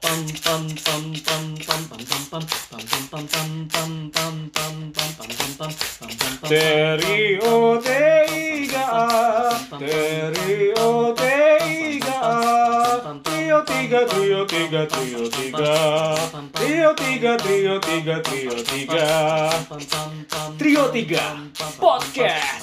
pam pam pam pam pam pam pam pam pam pam pam pam pam pam pam pam pam pam pam pam pam T-R-I-O-T-I-G-A T-R-I-O-T-I-G-A Trio tiga, trio tiga, trio tiga Trio tiga, trio tiga, trio tiga Trio tiga Podcast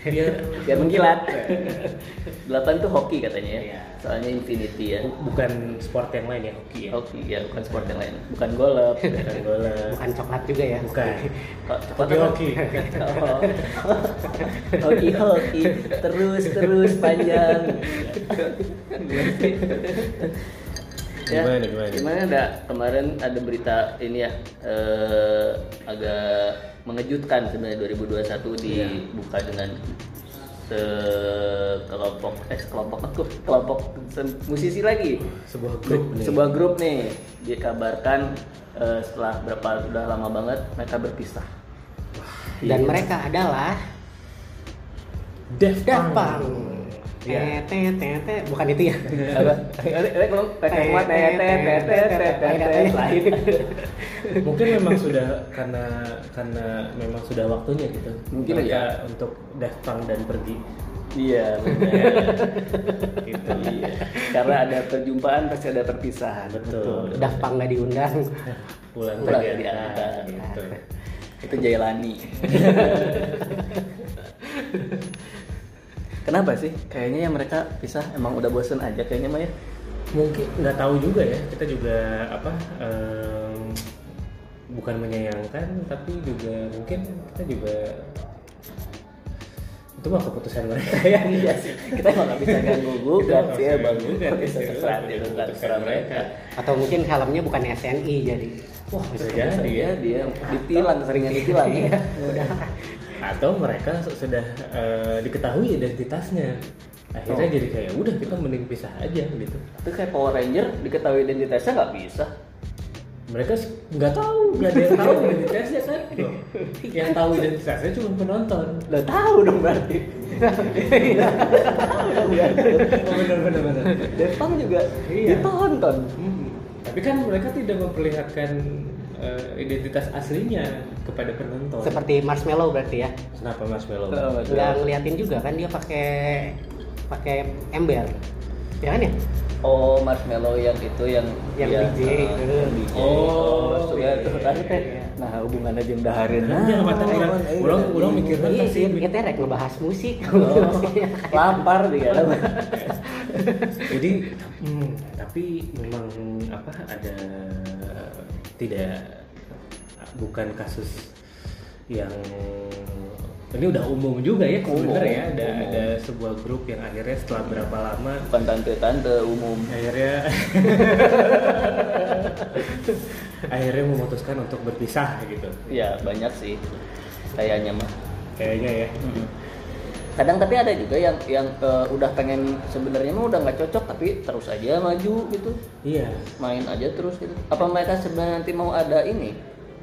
biar Biar mengkilat. Delapan tuh hoki katanya ya. Iya. Soalnya infinity ya. Bu- bukan sport yang lain ya hoki ya. Hoki ya, bukan sport yang lain. Bukan golf. Bukan bola Bukan coklat juga ya. Bukan Kok cepat Hoki amat. hoki Oh. Hoki hoki terus terus panjang. Gimana, gimana? Ya. Gimana dah kemarin ada berita ini ya eh, agak mengejutkan sebenarnya 2021 dibuka Iya. dengan sekelompok eh kelompok kelompok se- musisi lagi Sebuah grup nih sebuah grup nih dikabarkan eh, setelah berapa udah lama banget mereka berpisah Iya. Dan mereka adalah Def Punk. Dapang. Iya. Tete tete bukan itu ya. apa? Ada kalau pakai kemot tetet tetet tetet tetet lain. Mungkin memang sudah karena karena memang sudah waktunya gitu. Mungkin Mereka ya. untuk Def Punk dan pergi Iya benar. gitu. Iya. Karena ada perjumpaan pasti ada perpisahan. Betul. Dapang nggak diundang. Pulang Pulang tadi tadi ada. gitu. Itu Jailani. Kenapa sih? Kayaknya ya mereka pisah emang udah bosen aja kayaknya Maya. Mungkin nggak tahu juga ya. Kita juga apa em, bukan menyayangkan tapi juga mungkin kita juga itu mah keputusan mereka ya. Iya sih. Kita emang nggak bisa ganggu gugat sih ya bang. Kita Kita nggak bisa bisa ganggu terserah gugat, itu itu terserah keputusan mereka. Atau mungkin helmnya bukan SNI jadi. Wah, bisa Bisa jadi dia ya. Iya, dia ditilang seringan ditilang ya. Udah. atau mereka su- sudah eh, diketahui identitasnya akhirnya Oh. jadi kayak udah kita mending pisah aja gitu Itu kayak Power Ranger diketahui identitasnya nggak bisa. mereka s- nggak tahu nggak ada yang tahu identitasnya kan Loh, yang tahu identitasnya cuma penonton Udah tahu dong berarti. oh, benar benar benar Depang juga Iya. ditonton. Hmm. tapi kan mereka tidak memperlihatkan eh, identitas aslinya kepada penonton Seperti marshmallow berarti ya. kenapa mas Melo Oh, betul. Udah ngeliatin juga kan dia pakai pakai ember. Ya kan ya? Oh, marshmallow yang itu yang iya. Ah, Yang DJ itu. yang DJ. Oh, sudah iya, tuh kan. iya, iya. Nah, hubungannya jeung dahareun. Nah, Iya, mata orang- orang- orang mikir. Bener Iya kan sih? sih, kita rek ngebahas musik. Oh, iya. lapar dia. jadi hmm, tapi memang apa ada tidak bukan kasus yang ini udah umum juga ya Umum, sebenarnya ya ada umum. ada sebuah grup yang akhirnya setelah berapa lama Bukan tante-tante umum. akhirnya akhirnya memutuskan untuk berpisah gitu Ya, banyak sih kayaknya mah. kayaknya ya Kadang tapi ada juga yang yang eh, udah pengen sebenarnya mah udah nggak cocok tapi terus aja maju gitu. iya main aja terus gitu. Apa mereka sebenarnya nanti mau ada ini?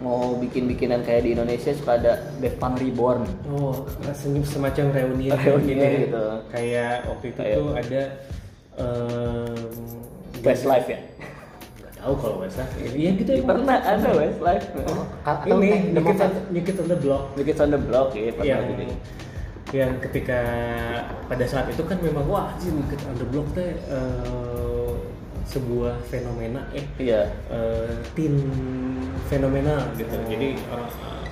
Mau bikin-bikinan kayak di Indonesia suka ada Dev Punk Reborn. Oh, senyum semacam reuni Reunian gitu. Kayak waktu itu Kayak- tuh ada em, Westlife ya? Gak tahu kalau Westlife. Iya gitu ya. Pernah ada Westlife. Ini Atau kayak nyikit Demokrat. nyikit Oh. on the block iya, Bikin on the block ya pernah yang gitu. yang ketika pada saat itu kan memang wah sih nyikit on the block teh eh, sebuah fenomena eh Iya. eh, teen fenomena gitu. Jadi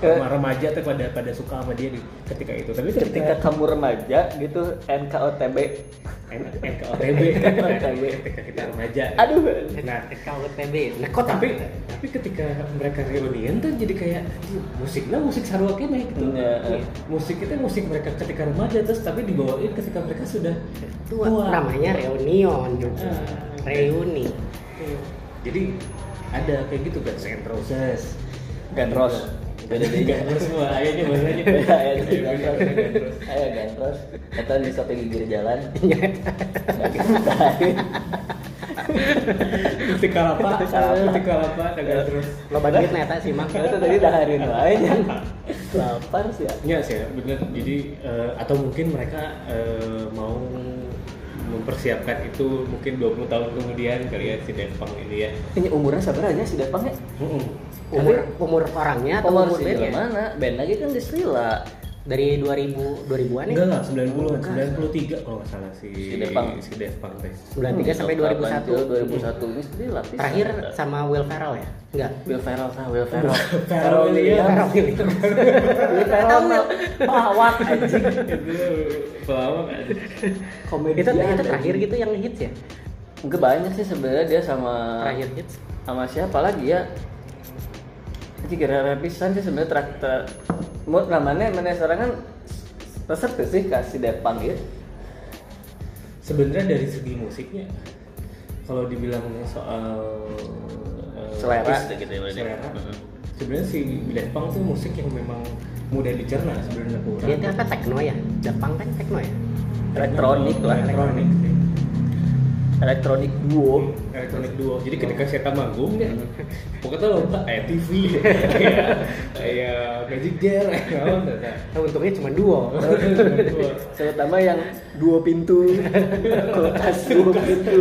orang orang remaja teh pada pada suka sama dia di, ketika itu. Tapi ketika Ketika kamu remaja gitu NKOTB. NKOTB NKOTB. ketika kita remaja Aduh. nah KUTB. Nah, kok kok tapi tapi ketika mereka reunian tuh jadi kayak "Aduh, musiknya musik sarua kene gitu Iya, iya. musik itu musik mereka ketika remaja terus tapi dibawain ketika mereka sudah tua namanya reunion juga. Ah. Reuni. jadi ada kayak gitu Guns N' Roses Gandros. beda Beda beda beda. semua akhirnya bahasanya Beda ya, Iya, beda, Gandros. Gandros. Ayo Gandros. Atau di stop di pinggir jalan. Iya. Tik kalapa, tik kalapa, ada Gandros. Lo banget neta sih mang. Itu tadi daharin wae. Jan. Lapar sih. ya. Iya sih, bener. Jadi eh, atau mungkin mereka eh, mau mempersiapkan itu mungkin 20 tahun kemudian kali ya si Daft Punk ini ya. Ini umurnya sabar aja si Depang ya. Umur umur orangnya atau umur Umur ya? si bandnya? mana? Band lagi kan geus lila. Dari 2000 2000-an ya? Enggak lah, 90-an, 93 kalau nggak salah si Si Daft Punk. si Daft Punk teh. 93 Hmm, sampai 2001. 2001 ini sendiri lapis. Terakhir sama Will Ferrell ya? Enggak. Will Ferrell, ah, Will Ferrell. Ferrell Williams. Ferrell gitu. Williams. Iya. Will Ferrell mah pelawak anjing. Itu pelawak kan. Komedian. itu itu anjing. terakhir gitu yang hits ya? Enggak banyak sih sebenarnya dia sama Terakhir hits. sama siapa lagi ya? Jadi gara-gara pisan sih sebenarnya traktor. Mau namanya mana sekarang kan resep tuh sih kasih Depang ya. Sebenarnya dari segi musiknya kalau dibilang soal eh, Selera, artis, gitu ya, berarti. selera. Mhm. Sebenarnya si Daft Punk tuh musik yang memang mudah dicerna sebenarnya ke Iya orang. Dia kan? itu apa techno ya? Jepang kan techno ya? Elektronik lah, Elektronik. elektronik duo. Elektronik duo. Jadi ketika saya manggung ya, pokoknya lompat kayak TV, kayak Magic Jar, kayak apa enggak. Nah, untungnya cuma duo. Terutama yang duo pintu, kulkas duo pintu.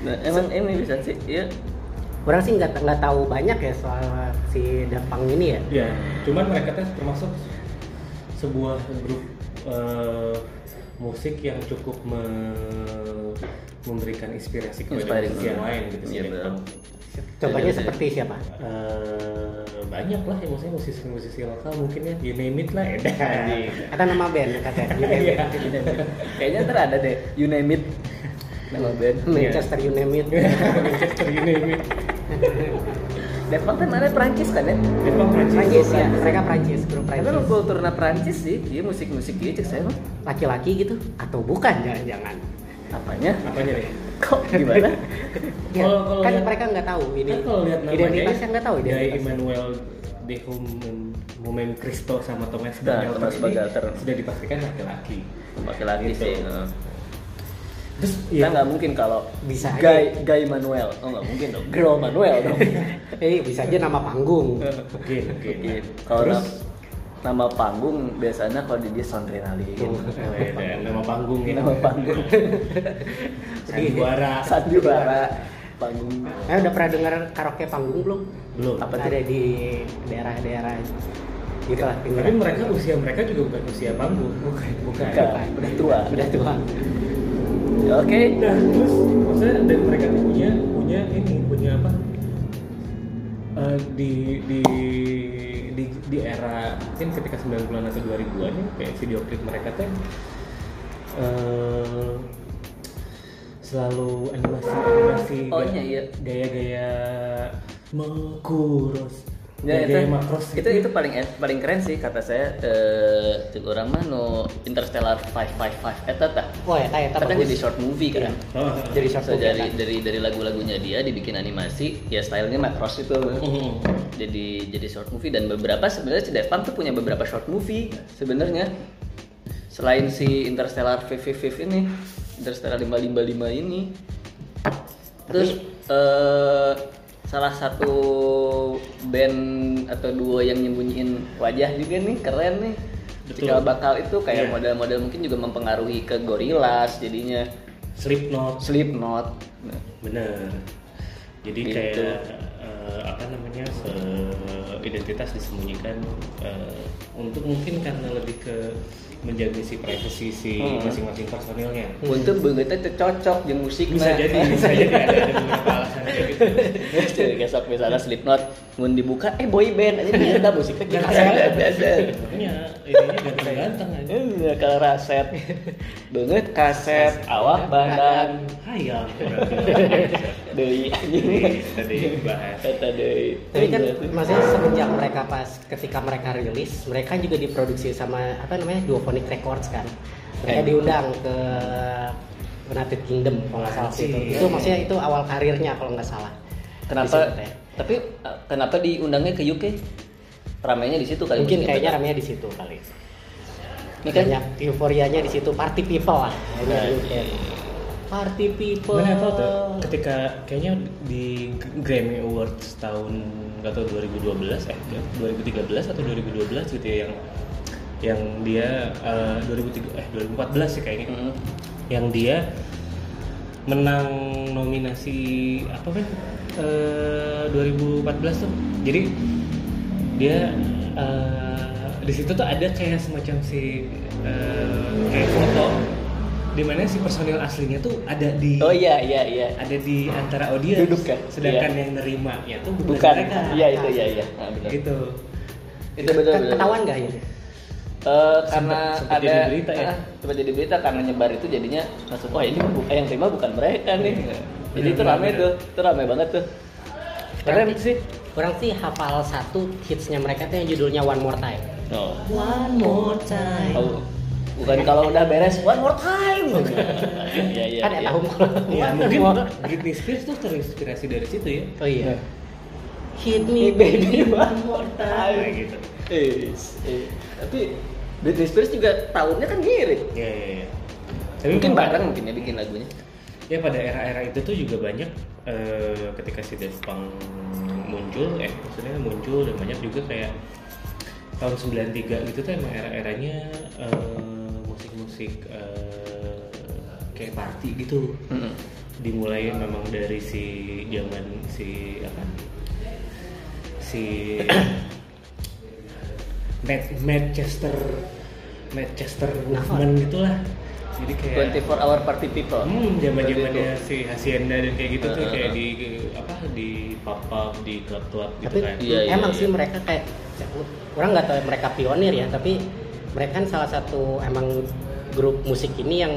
Nah, emang ini bisa sih, ya. Orang sih nggak nggak tahu banyak ya soal si Depang ini ya. Ya, cuman mereka teh termasuk sebuah grup eh, musik yang cukup me- memberikan inspirasi kepada Inspiring. musisi yang lain gitu sih. Iya, betul. Contohnya Iya, iya. seperti siapa? Eh, banyak lah ya maksudnya musisi-musisi lokal mungkin ya you name it lah edan Kata nama band katanya. You name it. Iya. Kayaknya ntar ada deh, you name it. Nama band. Manchester You name it. Iya. Manchester you name it Depang kan mana Prancis kan ya? Jepang Prancis Prancis ya, mereka Prancis, grup Tapi Prancis. lo kulturnya Prancis sih, dia musik-musik dia cek saya mah. Laki-laki gitu atau bukan? Jangan. jangan. Apanya? apanya nih Kok gimana? Ya, Kalau- kalau kan lihat- mereka nggak tahu ini. Kan kalau lihat namanya identitasnya nggak tahu dari identitas. Emmanuel de Homen- Momen Cristo sama Thomas Nah, Bangalter Thomas ini Bangalter. sudah dipastikan laki-laki. Pakai laki Gitu. sih. heeh. Terus ya, Kita nggak mungkin kalau Bisa aja. Guy Guy Manuel, oh nggak mungkin dong. Girl Manuel dong. Eh, bisa aja nama panggung. mungkin mungkin. Iya. Kalau Terus na- nama panggung biasanya kalau di dia Sondrenalin. eh, ada nama panggung ya. Nama panggung. Sandiwara. Sandiwara panggung. Eh, udah pernah dengar karaoke panggung belum? Belum. Apa tuh? Ada di daerah-daerah gitu lah. pinggiran. Tapi mereka usia mereka juga bukan usia panggung. Bukan, Bukan. Iya. Udah tua. Udah tua. Ya, Oke. Nah, terus maksudnya dan mereka tuh punya punya ini punya apa? Eh, di di di di era mungkin ketika 90-an atau 2000-an ya, kayak video klip mereka tuh eh, selalu animasi animasi Oh, gaya- iya, iya. gaya-gaya makuros Ya, gaya itu, makros gitu. gitu. itu itu paling eh, paling keren sih kata saya eh cek orang mah nu Interstellar 555 eta tah. Oh ya, kayak Tapi kan jadi short movie kan. Iya. Jadi short So, movie, dari kan? dari dari lagu-lagunya dia dibikin animasi, ya stylenya Macross itu. Iya. Jadi jadi short movie dan beberapa sebenarnya si Depan tuh punya beberapa short movie sebenarnya. Selain si Interstellar 555 ini, Interstellar 555 ini. Terus eh, salah satu band atau duo yang nyembunyiin wajah juga nih keren nih. Betul. Cikal bakal itu Iya. kayak model-model mungkin juga mempengaruhi ke Gorillaz jadinya Slipknot Slipknot. Nah, Bener. Jadi Gitu. kayak eh, apa namanya se- identitas disembunyikan eh, untuk mungkin karena lebih ke menjaga si privasi si Hmm. masing-masang personilnya. Untuk begitu itu cocok jeung musik Iya. Bisa jadi, Nah. bisa jadi ada, ada beberapa alasan kayak gitu. Jadi besok misalnya Slipknot mun dibuka eh boy band aja kita musiknya gitu. kita biasa. Makanya ininya ganteng-ganteng aja. Ini kalau raset Iya, banget kaset awak badan Hayang. deui Ini anjing. tadi bahas. Eta deui. Tapi kan Iya, maksudnya semenjak mereka pas ketika mereka rilis, mereka juga Iya. diproduksi sama apa namanya Duophonic Records kan. Mereka Kayak diundang ke United Kingdom kalau nggak salah sih itu. Anjing. Itu maksudnya itu awal karirnya kalau nggak salah. Iya, Kenapa? Di situ, ya. Tapi uh, kenapa diundangnya ke UK? Ramainya di situ kali. Mungkin ya, kayaknya benar. ramenya di situ kali. Ini kan- Banyak euforianya di situ, party people lah. Kayaknya Nah, UK. Party people. Kan Gue nggak tahu tuh ketika kayaknya di Grammy Awards tahun nggak tahu 2012 eh 2013 atau 2012 gitu ya yang yang dia eh, 2003 eh 2014 sih kayaknya Hmm. yang dia menang nominasi apa kan eh, 2014 tuh jadi dia eh, di situ tuh ada kayak semacam si eh, kayak foto di mana si personil aslinya tuh ada di Oh iya iya iya. ada di antara audiens Duduk kan? sedangkan Iya. yang nerima ya tuh bukan, Bukan. mereka Iya itu iya iya. Nah, benar. gitu Itu benar benar. Ketahuan nggak ya? Eh, karena Sempet- sempet ada jadi berita ya? ah, sempet jadi berita karena nyebar itu jadinya masuk wah ini bu- eh, yang terima bukan mereka nih jadi itu Benar, rame benar. tuh itu rame banget tuh keren sih Kurang sih hafal satu hitsnya mereka tuh yang judulnya One More Time. oh. One more time. bukan kalau udah beres one more time ya, ya, kan ada tahu ya mungkin Britney Spears tuh terinspirasi dari situ ya Oh iya. Hit me baby one more kayak time. gitu Eh, eh, tapi Britney Spears juga tahunnya kan mirip ya ya ya tapi mungkin memang- bareng mungkin ya bikin lagunya ya pada era-era itu tuh juga banyak eh, ketika si Daft Punk muncul eh maksudnya muncul dan banyak juga kayak tahun 93 gitu tuh emang era-eranya eh, musik-musik eh, kayak party gitu Mm-mm. dimulai memang dari si zaman si apa si Mad- Manchester Manchester movement gitulah jadi kayak 24 hour party people Hmm, zaman zamannya si Hacienda dan kayak gitu tuh Heeh. kayak di apa di pub-pub, di klub-klub gitu Tapi kan. Iya, iya, emang iya. sih mereka kayak kurang nggak tahu mereka pionir ya, tapi mereka kan salah satu emang grup musik ini yang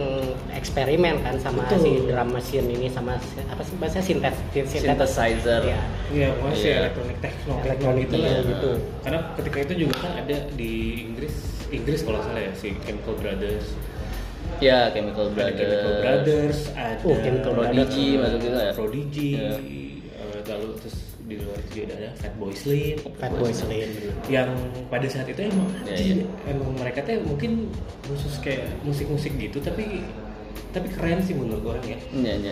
eksperimen kan sama Betul. si drum machine ini sama si- apa sih bahasa sintet sintet synthesizer ya. Iya, pokoknya sih Iya. elektronik techno, techno Elektronik gitu iya, lah. gitu. Karena ketika itu juga kan ada di Inggris, Inggris kalau nggak salah ya si Chemical Brothers, ya Chemical ada Chemical Brothers Brothers, ada Oh, Chemical Prodigy, masuk gitu ya? Prodigy, Iya. eh, lalu terus di luar itu juga ada Fatboy Slim, Fatboy Slim. yang pada saat itu emang Iya, anjing, iya. emang mereka tuh mungkin khusus kayak musik-musik gitu tapi tapi keren sih menurut orang ya Iya, iya.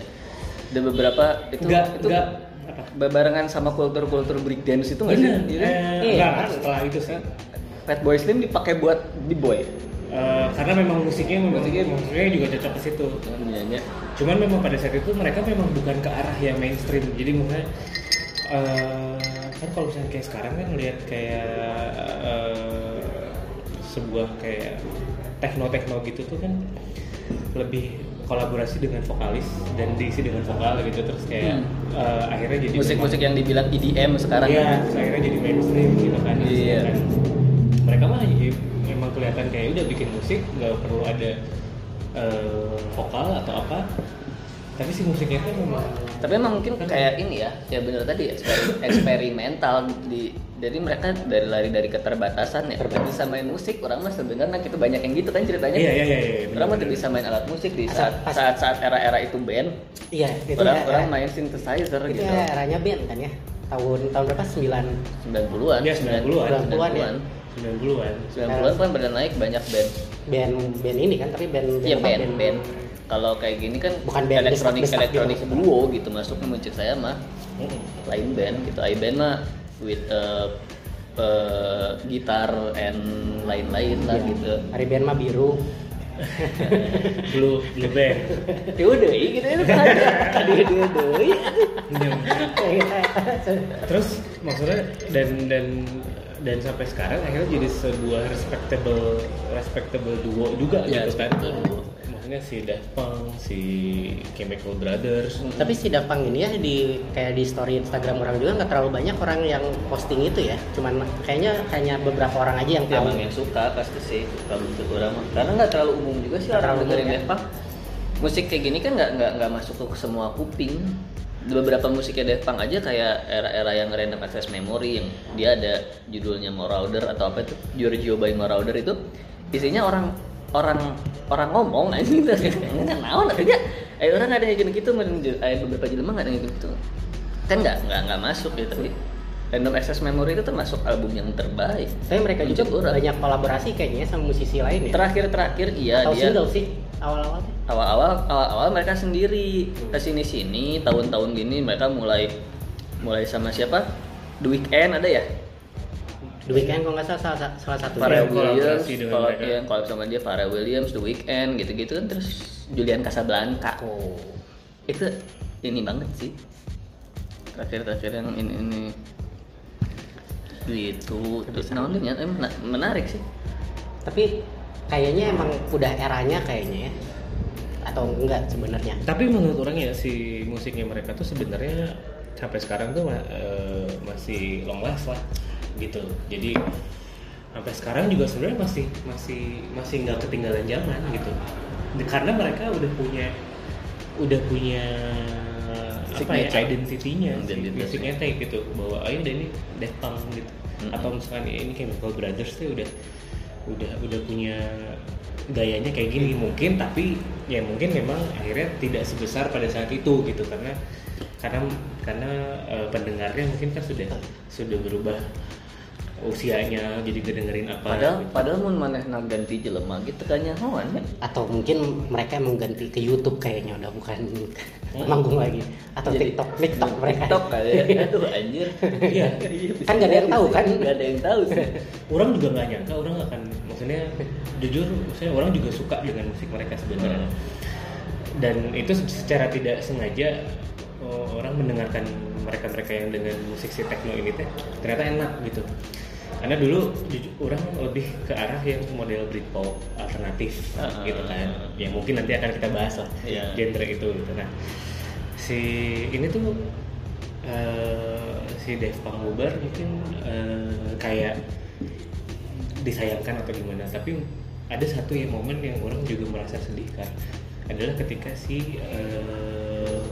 Ada beberapa itu enggak itu enggak apa barengan sama kultur-kultur breakdance itu nggak sih? bener Iya eh, kan? enggak lah, setelah itu sih Fat Boy Slim dipakai buat b-boy. Eh, karena memang musiknya memang Musiknya- musiknya juga cocok ke situ Iya, iya. cuman memang pada saat itu mereka memang bukan ke arah yang mainstream jadi mungkin kan kalau misalnya kayak sekarang kan lihat kayak eh, sebuah kayak techno techno gitu tuh kan lebih kolaborasi dengan vokalis dan diisi dengan vokal gitu terus kayak eh, akhirnya jadi Musik-musik yang dibilang EDM sekarang. Iya, terus akhirnya jadi mainstream gitu kan. Iya. Sedangkan Mereka mah ya, emang kelihatan kayak udah bikin musik nggak perlu ada eh, vokal atau apa. Tapi si musiknya tuh memang Tapi emang mungkin kayak ini ya, ya bener tadi eksperi- eksperimental di jadi mereka dari lari dari keterbatasan ya. Tapi bisa main musik, orang mah sebenarnya kita banyak yang gitu kan ceritanya. Iya, iya, iya, iya, bener, Orang mah bener. bisa main alat musik di Asal- saat saat saat era-era itu band. Iya, itu orang ya, era- orang main synthesizer itu gitu. Iya, eranya band kan ya. Tahun tahun berapa? 9 90-an. Iya, 90-an. 90-an ya. 90-an. 90-an kan benar naik banyak band. band band ini kan tapi band Iya apa? band band. Kalau kayak gini kan Bukan band, elektronik desak- desak elektronik gitu. duo gitu masuknya muncul saya mah Mm-mm. lain band gitu. I band mah with uh, uh, gitar and lain-lain lah Iya. gitu. Hari band mah biru. Blue Blue Band. Dewe deui gitu itu kan. Tadi dewe deui. Terus maksudnya dan dan dan sampai sekarang akhirnya jadi sebuah respectable respectable duo juga Iya, gitu kan. respectable duo. Maksudnya si Daft Punk, si Chemical Brothers, Tapi si Dapang ini ya di kayak di story Instagram orang juga nggak terlalu banyak orang yang posting itu ya. Cuman kayaknya hanya beberapa orang aja yang tahu. Emang ya? yang suka pasti sih kalau untuk orang mah. Karena nggak terlalu umum juga sih Nggak orang terlalu dengerin umum, ya. Daft Punk. Musik kayak gini kan nggak nggak nggak masuk ke semua kuping. Beberapa musiknya Daft Punk aja kayak era-era yang random access memory yang dia ada judulnya Marauder atau apa itu Giorgio by Marauder itu isinya orang orang orang ngomong anjing terus nggak naon akhirnya eh orang ada yang gitu gitu eh, beberapa jelema nggak ada yang gitu kan nggak nggak nggak masuk gitu tapi Random Access Memory itu termasuk album yang terbaik. Tapi mereka juga Menurut orang. banyak kolaborasi kayaknya sama musisi lain ya. Terakhir-terakhir iya Atau dia single sih awal-awal tuh. awal-awal awal-awal mereka sendiri ke sini sini tahun-tahun gini mereka mulai mulai sama siapa The Weeknd ada ya The Weeknd kalau nggak salah salah, salah satu ya. Pharrell Yang kolaborasi Williams dengan kalau mereka. yang collab sama dia Pharrell Williams The Weeknd gitu-gitu kan terus Julian Casablanca Oh. itu ini banget sih terakhir-terakhir yang ini ini gitu terus naon tuh, Nyan? Eh, mena- menarik sih Tapi kayaknya emang udah eranya kayaknya ya. Atau enggak sebenarnya. Tapi menurut orang ya si musiknya mereka tuh sebenarnya sampai sekarang tuh ma- eh, masih long last lah gitu. Jadi sampai sekarang juga sebenarnya masih masih masih nggak ketinggalan zaman gitu. De- Karena mereka udah punya udah punya apa ya Signature. identitinya Identity. musiknya teh gitu bahwa oh ini udah ini Daft Punk gitu Mm-mm. atau misalkan "Ya, ini Chemical Brothers tuh udah udah udah punya gayanya kayak gini mungkin tapi ya mungkin memang akhirnya tidak sebesar pada saat itu gitu karena karena karena eh, pendengarnya mungkin kan sudah sudah berubah usianya jadi kedengerin apa padahal gitu. padahal mun maneh na ganti jelema gitu kan nyahoan ya. Atau mungkin mereka emang ganti ke YouTube kayaknya udah bukan manggung lagi. Atau Jadi- Hmm, TikTok, TikTok mereka. TikTok kali ya. Aduh anjir. iya, Iya. Kan nggak ada yang tahu, kan? Enggak ada yang tahu sih. orang juga nggak nyangka orang akan maksudnya jujur maksudnya orang juga suka dengan musik mereka sebenarnya Hmm. dan itu se- secara tidak sengaja eh, orang mendengarkan mereka-mereka yang dengan musik si techno ini teh ternyata enak gitu karena dulu jujur, orang lebih ke arah yang model Britpop alternatif Ah, gitu kan ah, ah. ya mungkin nanti akan kita bahas lah Iya. genre itu gitu nah si ini tuh eh, si Dev Pangbubar mungkin eh, kayak disayangkan atau gimana tapi ada satu ya momen yang orang juga merasa sedihkan adalah ketika si eh,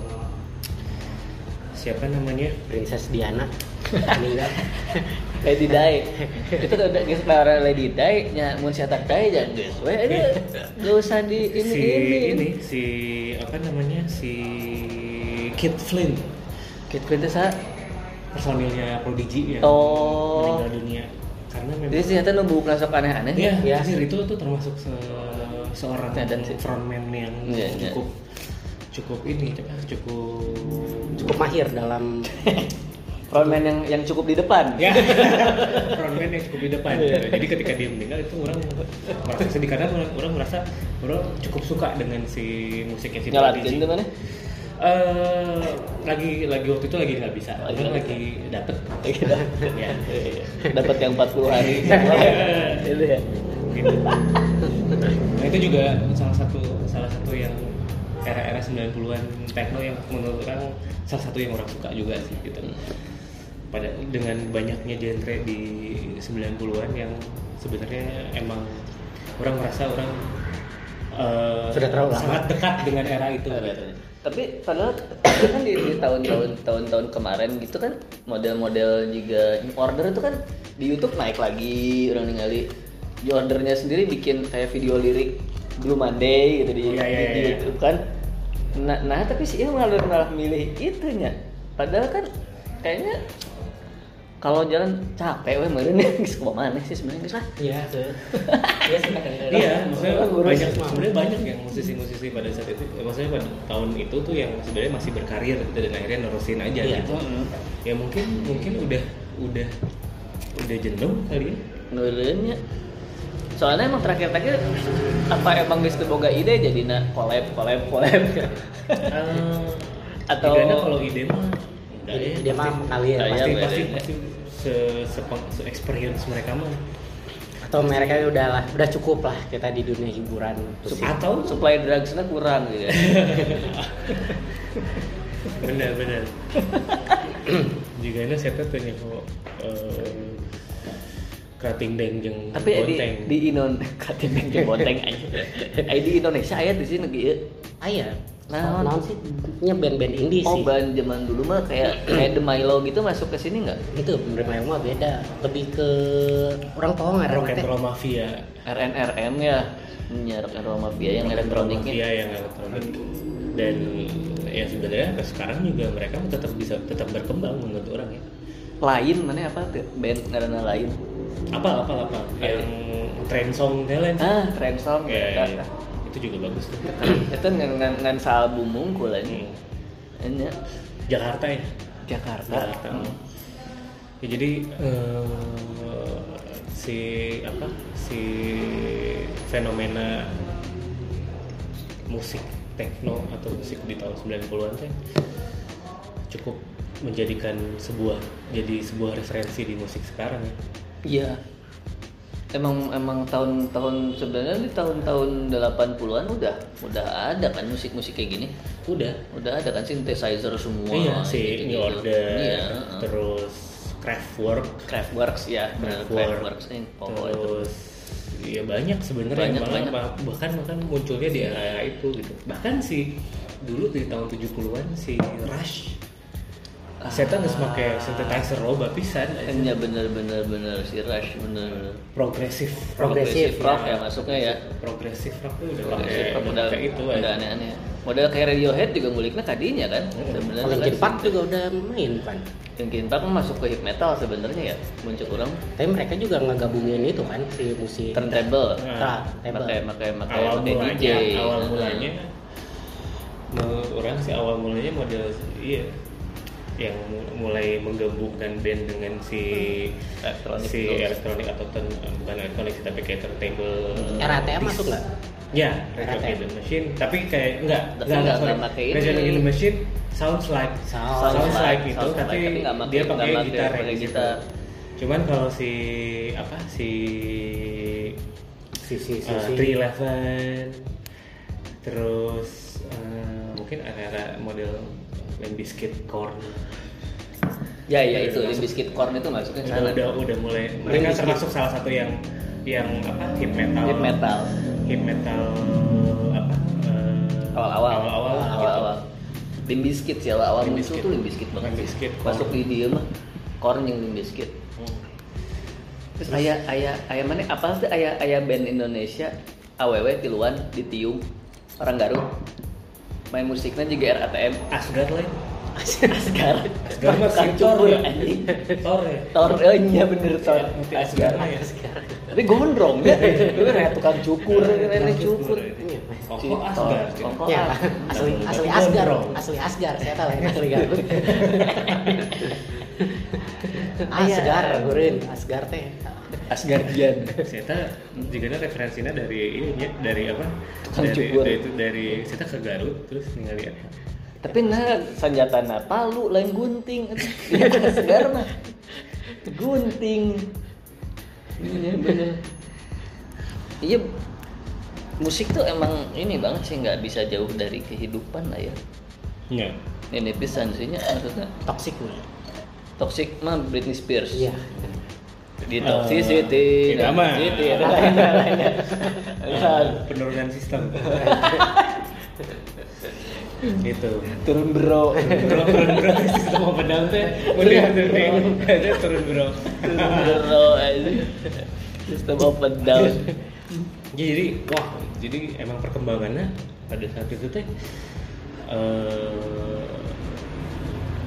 siapa namanya Princess Diana kan meninggal. Lady Day. Itu udah geus para Lady Day nya mun si atak Day jangan geus we aduh, nggak usah di ini si ini. ini si apa namanya si Kit Flynn Kit Flint teh sa- personilnya Prodigy yang Oh. meninggal dunia karena memang Jadi sih eta nu bukan sok aneh-aneh. Iya, Iya. anjir, itu tuh termasuk se- seorang Nah, dan si- frontman yang Iya, iya. cukup cukup ini apa, cukup Cukup mahir dalam Frontman yang yang cukup di depan. Iya. ya frontman yang cukup di depan. Iya. Jadi ketika dia meninggal itu orang merasa sedih karena orang, orang merasa orang cukup suka dengan si musiknya si Nyalatin Prodigy. tuh mana? Eh, lagi lagi waktu itu lagi nggak bisa, Lagi lagi, nggak Iya, lagi dapet. Iya. Lagi dapet. ya. Dapat Gitu. yang 40 hari. Itu ya. gitu. Nah, itu juga salah satu salah satu yang era-era 90-an techno yang menurut orang salah satu yang orang suka juga sih gitu. Pada dengan banyaknya genre di 90-an yang sebenarnya emang orang merasa orang eh, Sudah terlalu lama. sangat dekat dengan era itu. gitu. tapi padahal itu kan di, di tahun-tahun tahun-tahun kemarin gitu kan model-model juga in order itu kan di YouTube naik lagi orang ningali di ordernya sendiri bikin kayak video lirik Blue Monday gitu Iya, iya, di, di- di iya. YouTube kan nah, nah tapi sih Ieu malah malah milih itunya padahal kan kayaknya kalau jalan capek weh meureun geus kumaha maneh sih sebenarnya geus lah Iya, tuh. Iya, sudah Iya, maksudnya Ngurus. banyak sebenarnya banyak yang musisi-musisi pada saat itu, eh, maksudnya pada tahun itu tuh yang sebenarnya masih berkarir gitu dan akhirnya nerusin aja Iya. gitu. Ya mungkin mungkin udah udah udah jenuh kali ya. Nuleunnya. Soalnya emang terakhir-terakhir apa emang geus teu boga ide jadi na collab collab collab atau Tidaknya kalau ide mah enggak ya. Dia mah mengalir Iya, pasti iya, pasti iya. pasti se sepe- se experience mereka mah atau mereka ya udah lah udah cukup lah kita di dunia hiburan Sup- Terus- atau supply drugsnya kurang gitu. ya. benar benar juga ini siapa tuh nih kok eh, kating deng jeung Tapi di bonteng. di Inon katanya bonteng aja. Eh, di Indonesia aya di sini gitu. ah iya Nah, Nah, sih nya band-band indie oh sih. ban zaman dulu mah kayak kayak The Milo gitu masuk ke sini nggak? Itu bener mah beda, lebih ke orang Pohang Rock and teh. ya. Roll Mafia. RNRM ya, nyarok Errol Mafia yang Mafia elektroniknya. yang elektronik. Dan ya sebenarnya sampai sekarang juga mereka tetap bisa tetap berkembang menurut orang ya. Lain mana apa tuh? Band karena lain. Apa apa apa yang trend song talent. Ah, trend song Ya, ya. ya. itu juga bagus tuh. Itu ngan ngan ngan salbum mungkul ini. Hmm. Ini Jakarta ya. Jakarta. Jakarta. Hmm. Ya, jadi eh, si apa si fenomena musik techno atau musik di tahun 90-an teh cukup menjadikan sebuah jadi sebuah referensi di musik sekarang ya. Iya. Emang emang tahun-tahun sebenarnya di tahun-tahun 80-an udah udah ada kan musik-musik kayak gini. Udah. Udah ada kan synthesizer semua. iya, si gitu-gitu. New Order, Iya, heeh. terus Kraftwerk, Craftworks ya, benar Craftworks nih pokoknya itu. terus ya banyak sebenarnya Banyak, malah banyak. bah- bahkan bahkan munculnya di era itu gitu bahkan si dulu di tahun 70-an si Rush Ah. saya tuh nggak pakai synthesizer loba pisan eh, Iya bener-bener bener si Rush bener. progresif Progresif, rock ya masuknya ya. progresif rock tuh udah Progresif pakai gitu, rock udah pakai itu udah aja. aneh-aneh. Model kayak Radiohead juga nguliknya tadinya kan. Sebenarnya Kalau Linkin kan, Park juga udah main kan. Linkin Park masuk ke hip metal sebenarnya ya. Muncul orang Tapi mereka juga ngegabungin itu kan si musik turntable. Nah, tra- label. Pakai pakai pakai awal pakai DJ. mulanya awal Heeh. mulanya menurut orang sih awal mulanya model iya yang mu- mulai menggabungkan band dengan si Elektronik si dulu. elektronik atau turn- bukan elektronik sih, tapi kayak turntable RATM masuk nggak? ya RATM. Retro the Machine tapi kayak enggak enggak Tapi enggak- enggak sorry enggak pakai ini. Retro the Machine sounds like Sounds sounds like, like itu tapi sounds like, tapi enggak pakai- dia pakai enggak pakai- gitar ya, pakai di situ. gitar. cuman kalau si apa si eh, Si si si. si. Three Eleven, terus eh, mungkin era-era model band biscuit corn Ya ya itu Limp Bizkit Korn itu Kan masuknya ke udah sana. udah, udah mulai mereka Bizkit. termasuk salah satu yang yang apa hip metal Hip metal. hip metal apa eh, Awal-awal. Gitu, awal-awal Awal-awal. Limp Bizkit sih awal-awal Limp muncul Bizkit. tuh Limp Bizkit banget. Limp sih. Bizkit, Korn. Masuk di dia mah Korn yang Limp Bizkit. gitu. Terus ayah ayah ayah mana apa sih ayah ayah band Indonesia aww tiluan ditium orang Garut main musiknya juga RATM Asgard lain Asgar Asgard mah Tukang si Thor cukur ya anjing Thor ya Thor eh iya bener Thor Nanti Asgard Asgar lah ya tapi gondrong ya itu kayak tukang cukur nenek cukur Koko Asgard gitu. cuy. Thor, Koko Ya, Asgard. asli asli Gondrong. Asgar, asli Asgar, saya tahu yang asli Garut. Asgar, Ah, gurin, Iya. Asgar teh. Asgardian Seta juga referensinya dari ininya dari apa? Tukang dari, cukur. dari- itu dari Seta ke Garut terus ya? ngeliat tapi nah senjata nah palu lain gunting Iya, Asgar mah gunting iya bener iya musik tuh emang ini banget sih nggak bisa jauh dari kehidupan lah ya Enggak. ini pisan sihnya maksudnya Toxic nih. toxic mah Britney Spears Iya. di Eh, toxicity tidak mah. toxicity, ada lain ada lain Ada. Penurunan sistem. gitu. turun bro Kalau turun bro di sistem apa pedang teh? Mending turun ada turun bro. turun bro aja sistem up and down Ya, jadi wah jadi emang perkembangannya pada saat itu teh eh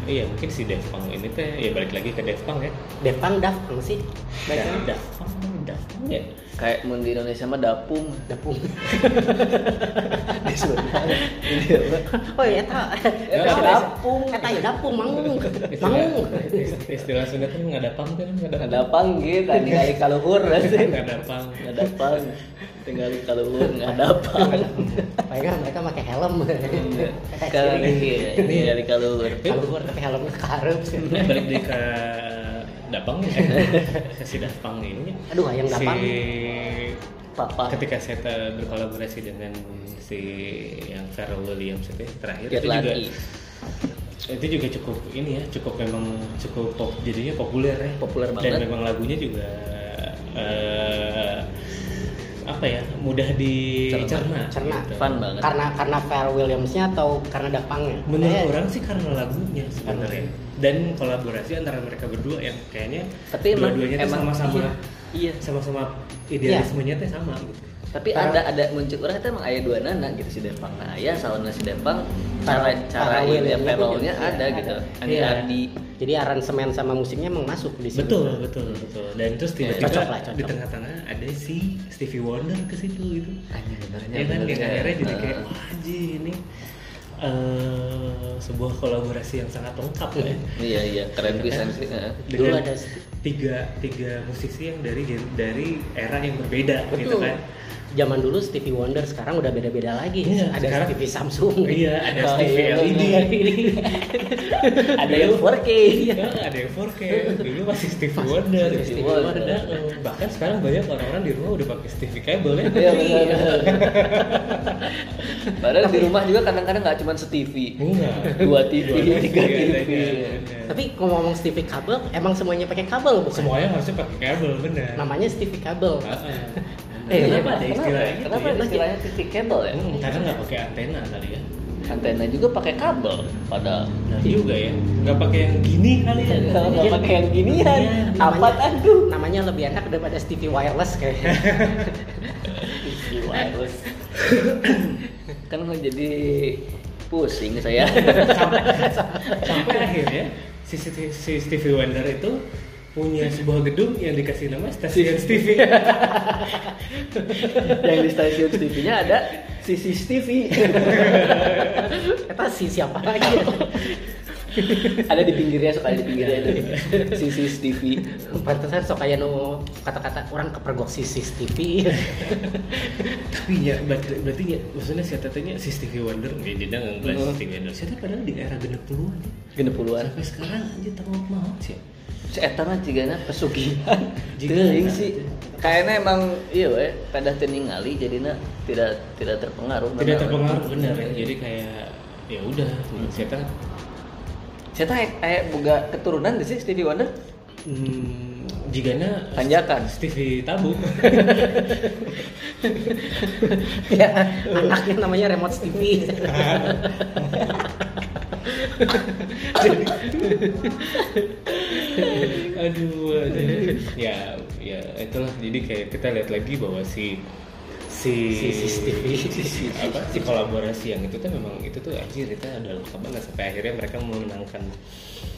iya mungkin si Daft Punk ini teh ya balik lagi ke Daft Punk ya. Depang Daft Punk sih. Daft Baiknya Daft Punk, Daft Punk ya. kayak mun di Indonesia mah dapung Depung. di Sunda Di apa? Oh iya tak. Ya, Dapung, eta ya dapung manggung. Manggung. Istilah- istilah Sunda tuh nggak ada pang tuh nggak ada nggak dapang gitu tadi kali kaluhur ya sih nggak ada pang nggak dapang tinggal di kaluhur nggak dapang Iya. Baiknya mereka pakai helm. Iya. kalau ini tinggal di kaluhur Kaluhur tapi helmnya karup sih. Nah, balik deh ke Dapang ya Eh, si Dapang ini Aduh, ayam Dapang. si papa ketika saya te- berkolaborasi dengan si yang Pharrell Williams itu yang terakhir lihat itu juga lagi itu juga cukup ini ya cukup memang cukup pop jadinya populer ya Populer dan banget. memang lagunya juga eh, apa ya mudah dicerna Cerna. gitu. Fun banget. Karena karena Pharrell Williamsnya atau karena Daft Punk-nya? Iya. menurut Eh. Kayaknya orang sih karena lagunya sebenarnya dan kolaborasi antara mereka berdua yang kayaknya Tapi emang dua-duanya tuh emang sama-sama Iya. iya. sama-sama idealismenya teh sama gitu Tapi ada ada muncul orang itu emang ayah dua nana gitu si Depang. Nah, ayah salonnya si Depang cara cara Cara ini Williamnya pelolnya juga, ada iya, gitu. ada. Andi Iya. Andi Jadi aransemen sama musiknya emang masuk di sini. betul betul betul dan terus tiba-tiba Cocok lah, cocok. di tengah-tengah ada si Stevie Wonder ke situ gitu Anjing benernya. ya kan yang benernya. akhirnya jadi kayak Iya, Nah. wah anjing, ini eh, sebuah kolaborasi yang sangat lengkap ya Iya iya keren pisan sih. heeh. Dulu dengan ada s- tiga tiga musisi yang dari gen- dari era yang berbeda gitu betul. kan Zaman dulu Stevie Wonder, sekarang udah beda-beda lagi. Iya, ada sekarang- Stevie Samsung. Iya, ada Oh, Stevie iya, LED. iya, iya. Ada yang 4K. Ya, ada yang 4K dulu masih Steve Wonder Stevie Stevie Wonder. Wonder. Eh, bahkan sekarang banyak orang-orang di rumah udah pakai Stevie Cable ya Iya benar. Padahal di rumah juga kadang-kadang nggak cuma se TV, enggak dua TV, Dua tiga TV, TV. adanya. Tapi ngomong Stevie Kabel, emang semuanya pakai kabel bukan? semuanya harusnya pakai kabel benar Namanya Stevie Kabel. Ah. eh Eh, kenapa ada istilahnya gitu Iya. Kenapa ya? ada istilahnya TV kabel ya? Hmm, karena nggak pakai antena kali ya Antena juga pakai kabel padahal. Benar juga ya nggak pakai yang gini kali ya Nggak pakai yang ginian. Iya, Apa tuh? Nah, Namanya lebih enak daripada Stevie Wireless kayaknya. Wireless. kan mau jadi pusing saya. sampai akhirnya si, si, si Stevie Wonder itu punya sebuah gedung yang dikasih nama stasiun Stevie yang di stasiun TV-nya ada CCTV. Kita si siapa lagi? ya? ada di pinggirnya suka ada di pinggirnya itu. CCTV. Pantesan sok kayak nu kata-kata orang kepergok si CCTV. tapi ya berarti, berarti ya maksudnya si tetenya si Stevie Wonder ya dia nggak Oh. si Stevie Wonder si Tete padahal di era genep puluhan Genep puluhan. sampai sekarang aja tahu mau sih Si Eta mah cigana pesugihan. Jika- Teuing sih. Kayaknya emang iya we, pada teningali jadinya tidak tidak terpengaruh. tidak terpengaruh benar ya jadi kayak ya udah si Tete Saya tahu kayak eh, boga keturunan gak sih Stevie Wonder? hmm, jigana Tanjakan. Stevie tabu ya, anaknya namanya remote TV. aduh, aduh. ya ya itulah jadi kayak kita lihat lagi bahwa si si Si CCTV. si- apa si kolaborasi yang itu tuh memang itu tuh anjir itu udah lengkap banget sampai akhirnya mereka memenangkan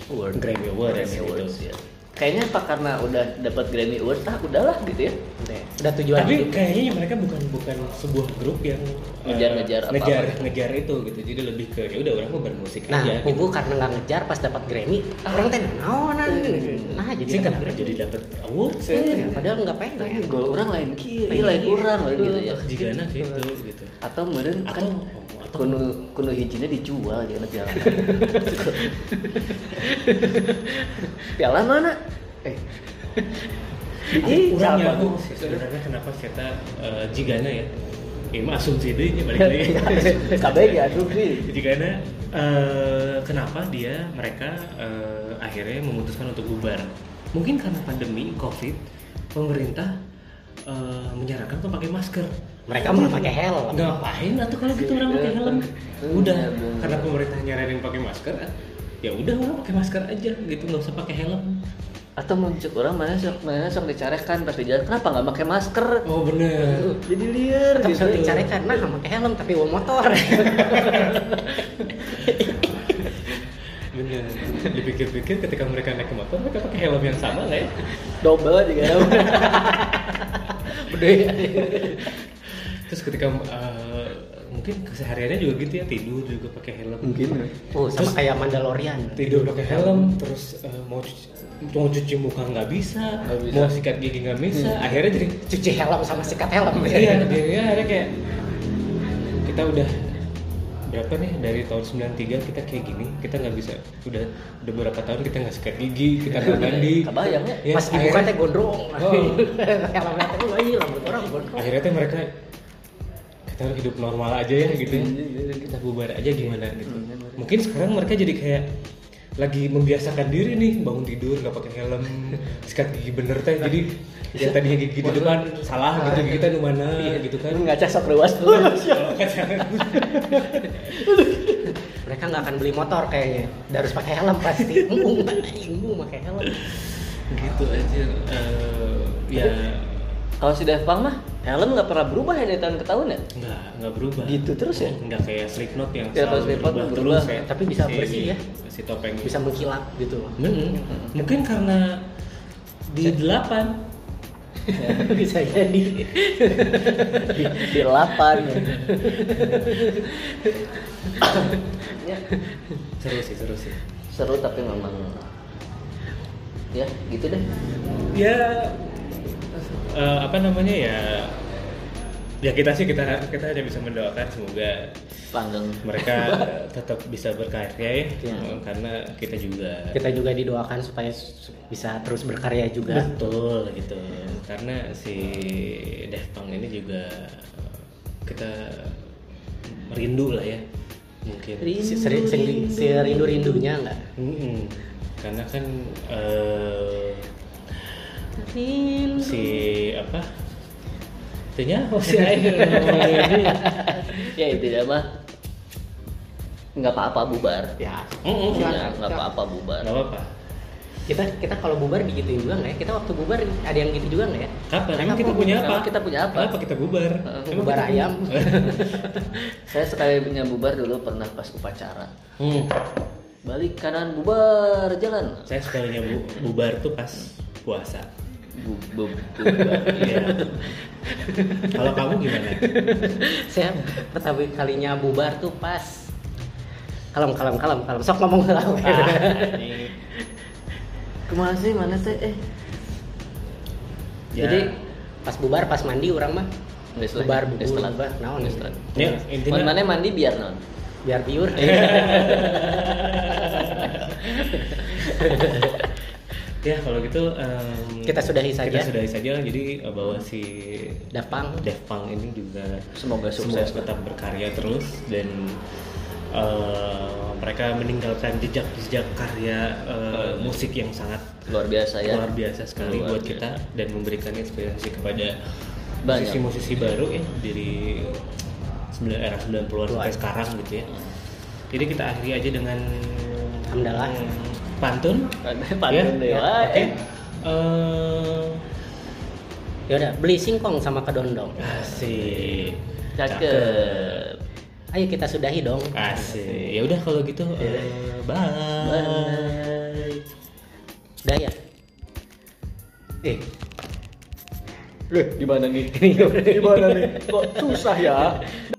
Award. Grammy Awards Grammy gitu. Awards, ya. Kayaknya apa karena udah dapat Grammy Awards ah udahlah gitu ya. Udah tujuan gitu. tapi hidup. kayaknya mereka bukan bukan sebuah grup yang eh, Ngejar-ngejar apa-apa. ngejar ngejar itu gitu jadi lebih ke ya udah orang mau bermusik Nah, aja gitu. kubu karena nggak ngejar pas dapat Grammy, orang teh naonan. Iya, Nah, jadi Sih, dapat kenapa Grammy. jadi dapat award Iya. Eh, Padahal nggak pengen. Iya, Gol orang lain kiri, lain kurang lain gitu ya. jika nah gitu gitu Atau meureun kan Atau- atau- kuno kuno hijinya dijual jangan piala. piala mana? Eh. Ih, kurang siapa? ya aku sebenarnya kenapa kita eh, jigana ya ini mah asumsi deh ini balik lagi Kabeh ya aduh sih. jigana eh, kenapa dia mereka eh, akhirnya memutuskan untuk bubar mungkin karena pandemi covid pemerintah eh, menyarankan untuk pakai masker Mereka malah pakai helm. Iya, ngapain atau kalau gitu orang pakai helm udah karena pemerintah nyaranin pakai masker ya udah orang pakai masker aja gitu nggak usah pakai helm Atau muncul orang mana sok mana sok dicarekan pas di jalan kenapa nggak pakai masker? oh bener Jadi liar Tapi gitu. sudah dicari karena nggak pakai helm tapi bawa motor. Bener. Dipikir-pikir ketika mereka naik ke motor, mereka pakai helm yang sama nggak ya? Double juga. Udah. ya. Terus ketika eh, mungkin kesehariannya juga gitu ya tidur juga pakai helm. ya. Oh, sama kayak Mandalorian. Tidur pakai helm, terus eh, mau cuci, mau cuci muka nggak bisa, Nggak bisa. Hmm. mau sikat gigi nggak bisa. Akhirnya jadi Cuci helm sama sikat helm. iya, akhirnya akhirnya kayak kita udah berapa nih dari tahun 93 kita kayak gini kita nggak bisa udah udah berapa tahun kita nggak sikat gigi kita nggak mandi Iya. Kebayang ya? Ya, Pas dibuka akhirnya- teh gondrong. Oh. Helmnya teh oh, iya rambut orang gondrong. akhirnya tuh mereka kita hidup normal aja ya gitu ya. kita bubar aja gimana gitu mungkin sekarang mereka jadi kayak lagi membiasakan diri nih bangun tidur nggak pakai helm sikat gigi bener teh jadi ya tadinya gigi di depan salah gitu gigi kita di mana gitu kan ngaca satruas tuh ya. mereka nggak akan beli motor kayaknya Dan harus pakai helm pasti embung embung pakai helm gitu aja Eh, ya kalau si Daft Punk mah helm nggak pernah berubah ya dari tahun ke tahun ya nggak nggak berubah gitu terus ya nggak kayak Slipknot yang Ya, kalau Slipknot berubah, tapi bisa bersih ya. si topeng bisa mengkilap gitu loh Mm-mm. mungkin karena di delapan bisa jadi di, di lapan ya. seru sih seru sih seru tapi memang ya gitu deh ya eh, apa namanya ya ya kita sih kita kita hanya bisa mendoakan semoga langgeng mereka eh, tetap bisa berkarya ya, Iya. eh, karena kita juga kita juga didoakan supaya s- bisa terus berkarya juga betul gitu karena si Daft Punk ini juga eh, kita rindu lah ya mungkin Si- seri- seri- serindu-rindunya nggak Mm-mm. karena kan eh, si apa Tanya apa sih Aing? ya intinya mah nggak apa-apa bubar ya Mm-mm. Ya, nggak apa-apa bubar Gak apa-apa. kita kita kalau bubar digituin juga nggak ya kita waktu bubar ada yang gitu juga nggak ya Kapan? Mereka Emang kita mau- punya apa? Emang kita punya apa? Kenapa kita bubar? Eh, Emang bubar kita- ayam saya sekali punya bubar dulu pernah pas upacara Hmm. balik kanan bubar jalan Saya sekalinya bu- bubar tuh pas puasa. Bu- bu- bubar Iya. Kalau kamu gimana? saya pertama kalinya bubar tuh pas kalem kalem kalem kalem sok ngomong lah Ah. ini- kemana sih mana sih eh Ya. jadi pas bubar pas mandi orang mah Nggak setelah- bubar nggak bubar setelah. bubar naon Nggak setelah. ya, Mau intinya mana mandi biar non biar biur ya kalau gitu em, Kita sudahi saja. Kita sudahi saja jadi eh, bahwa si dapang Daft Punk ini juga semoga sukses sukses tetap berkarya terus dan eh, mereka meninggalkan jejak-jejak karya Oh, eh, musik yang sangat luar biasa ya luar biasa sekali iya. Luar buat biasa. kita dan memberikan inspirasi kepada Banyak. musisi-musisi baru ya dari sembilan- era 90-an sampai sekarang gitu ya. Jadi kita akhiri aja dengan hmm, Alhamdulillah. pantun. pantun deh wah, Oke. eh. Eh, yaudah beli singkong sama kedondong asik. cakep ayo kita sudahi dong Ah, Asik. Ya udah kalau gitu eh, bye. Bye. udah ya eh Loh, gimana nih? Gimana nih? Kok susah ya?